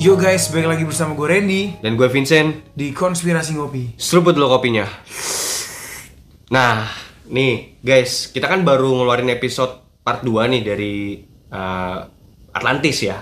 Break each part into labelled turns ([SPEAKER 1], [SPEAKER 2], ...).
[SPEAKER 1] Yo guys, balik lagi bersama gue Randy
[SPEAKER 2] Dan gue Vincent,
[SPEAKER 1] di Konspirasi Ngopi
[SPEAKER 2] seruput dulu kopinya. Nah, nih guys, kita kan baru ngeluarin episode part 2 nih dari eh, Atlantis ya,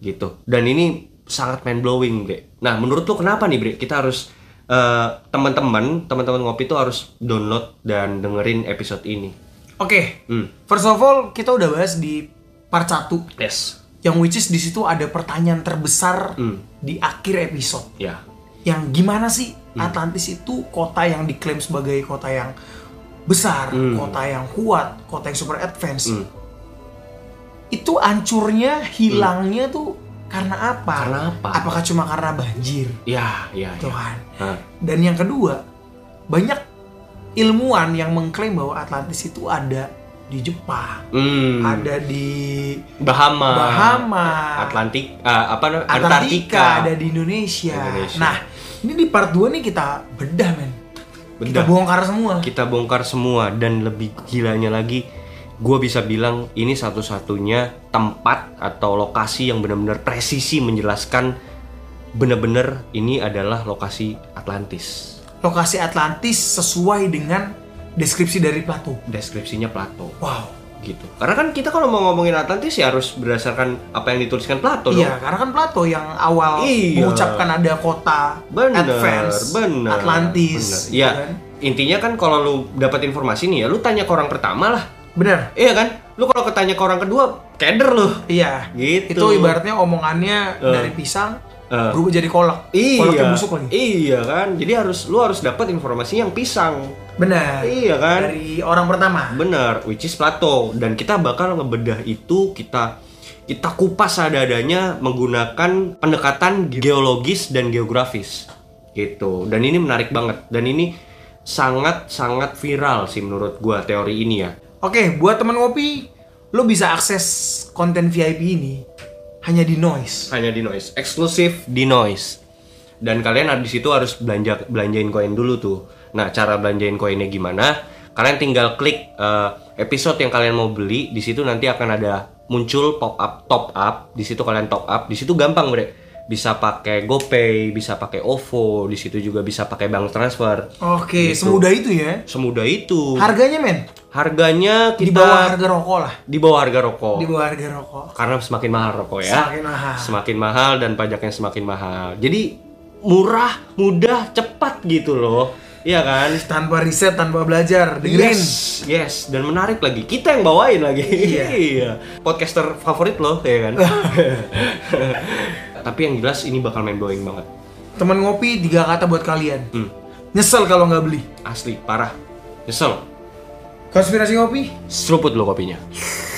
[SPEAKER 2] gitu. Dan ini sangat mind blowing, Bre. Nah, menurut lo kenapa nih, Bre? Kita harus eh, teman-teman, teman-teman ngopi tuh harus download dan dengerin episode ini.
[SPEAKER 1] Oke,
[SPEAKER 2] Hmm.
[SPEAKER 1] first of all kita udah bahas di part 1
[SPEAKER 2] Yes.
[SPEAKER 1] Yang which is di situ ada pertanyaan terbesar
[SPEAKER 2] Hmm.
[SPEAKER 1] di akhir episode
[SPEAKER 2] Ya.
[SPEAKER 1] Yang gimana sih
[SPEAKER 2] Hmm.
[SPEAKER 1] Atlantis itu kota yang diklaim sebagai kota yang besar, kota yang kuat, kota yang super advance
[SPEAKER 2] Hmm.
[SPEAKER 1] Itu hancurnya, hilangnya tuh karena apa?
[SPEAKER 2] Karena apa?
[SPEAKER 1] Apakah cuma karena banjir? kan.
[SPEAKER 2] Ya, ya, ya.
[SPEAKER 1] Tuhan.
[SPEAKER 2] Hah.
[SPEAKER 1] Dan yang kedua, banyak ilmuwan yang mengklaim bahwa Atlantis itu ada di Jepang,
[SPEAKER 2] Hmm.
[SPEAKER 1] ada di
[SPEAKER 2] Bahama.
[SPEAKER 1] Bahama,
[SPEAKER 2] Atlantik, eh, apa namanya?
[SPEAKER 1] Antartika, ada di Indonesia.
[SPEAKER 2] Indonesia.
[SPEAKER 1] Nah, ini di part 2 nih kita bedah, men. Kita
[SPEAKER 2] Bedah.
[SPEAKER 1] bongkar semua.
[SPEAKER 2] kita bongkar semua dan lebih gilanya lagi gue bisa bilang ini satu-satunya tempat atau lokasi yang benar-benar presisi menjelaskan benar-benar ini adalah lokasi Atlantis
[SPEAKER 1] Lokasi Atlantis sesuai dengan deskripsi dari Plato.
[SPEAKER 2] deskripsinya Plato
[SPEAKER 1] Wow.
[SPEAKER 2] gitu karena kan kita kalau mau ngomongin Atlantis ya harus berdasarkan apa yang dituliskan Plato dong
[SPEAKER 1] Iya, karena kan Plato yang awal
[SPEAKER 2] Iya.
[SPEAKER 1] mengucapkan ada kota
[SPEAKER 2] bener
[SPEAKER 1] advance,
[SPEAKER 2] bener
[SPEAKER 1] Atlantis,
[SPEAKER 2] bener. ya
[SPEAKER 1] gitu kan.
[SPEAKER 2] intinya kan kalau lu dapat informasi nih ya lu tanya ke orang pertama lah
[SPEAKER 1] Bener.
[SPEAKER 2] iya kan lu kalau ketanya ke orang kedua keder lu
[SPEAKER 1] Iya.
[SPEAKER 2] Gitu.
[SPEAKER 1] Itu ibaratnya omongannya
[SPEAKER 2] Eh.
[SPEAKER 1] dari pisang
[SPEAKER 2] Eh.
[SPEAKER 1] berubah jadi kolak. Kolaknya
[SPEAKER 2] Iya.
[SPEAKER 1] busuk lagi.
[SPEAKER 2] Iya kan. Jadi harus lu harus dapat informasi yang pisang.
[SPEAKER 1] Benar.
[SPEAKER 2] Iya kan.
[SPEAKER 1] Dari orang pertama.
[SPEAKER 2] Bener, which is Plato dan kita bakal ngebedah itu kita kita kupas ada-adanya menggunakan pendekatan geologis dan geografis gitu. Dan ini menarik banget dan ini sangat sangat viral sih menurut gua teori ini ya.
[SPEAKER 1] Oke, buat teman ngopi, lo bisa akses konten VIP ini hanya di Noise.
[SPEAKER 2] Hanya di Noise, eksklusif di Noise. Dan kalian di situ harus belanja belanjain koin dulu tuh. Nah, cara belanjain koinnya gimana? Kalian tinggal klik eh, episode yang kalian mau beli, di situ nanti akan ada muncul pop up top up. Di situ kalian top up, di situ gampang, Bre. Bisa pakai GoPay, bisa pakai OVO, di situ juga bisa pakai bank transfer.
[SPEAKER 1] Oke,
[SPEAKER 2] Gitu.
[SPEAKER 1] semudah itu ya.
[SPEAKER 2] Semudah itu.
[SPEAKER 1] Harganya men
[SPEAKER 2] Harganya kita Oh.
[SPEAKER 1] di bawah harga rokok lah.
[SPEAKER 2] di bawah harga rokok.
[SPEAKER 1] Di bawah harga rokok.
[SPEAKER 2] Karena semakin mahal rokok ya.
[SPEAKER 1] Semakin mahal.
[SPEAKER 2] semakin mahal dan pajaknya semakin mahal. Jadi murah, mudah, cepat gitu loh. Iya kan?
[SPEAKER 1] Tanpa riset, tanpa belajar, dengerin.
[SPEAKER 2] Yes, yes, dan menarik lagi. Kita yang bawain lagi.
[SPEAKER 1] Iya.
[SPEAKER 2] Podcaster favorit loh, ya kan? Tapi yang jelas ini bakal main blowing banget.
[SPEAKER 1] Teman ngopi tiga kata buat kalian.
[SPEAKER 2] Hmm,
[SPEAKER 1] Nyesel kalau nggak beli.
[SPEAKER 2] asli parah. Nyesel.
[SPEAKER 1] Konspirasi ngopi.
[SPEAKER 2] Seruput lo kopinya.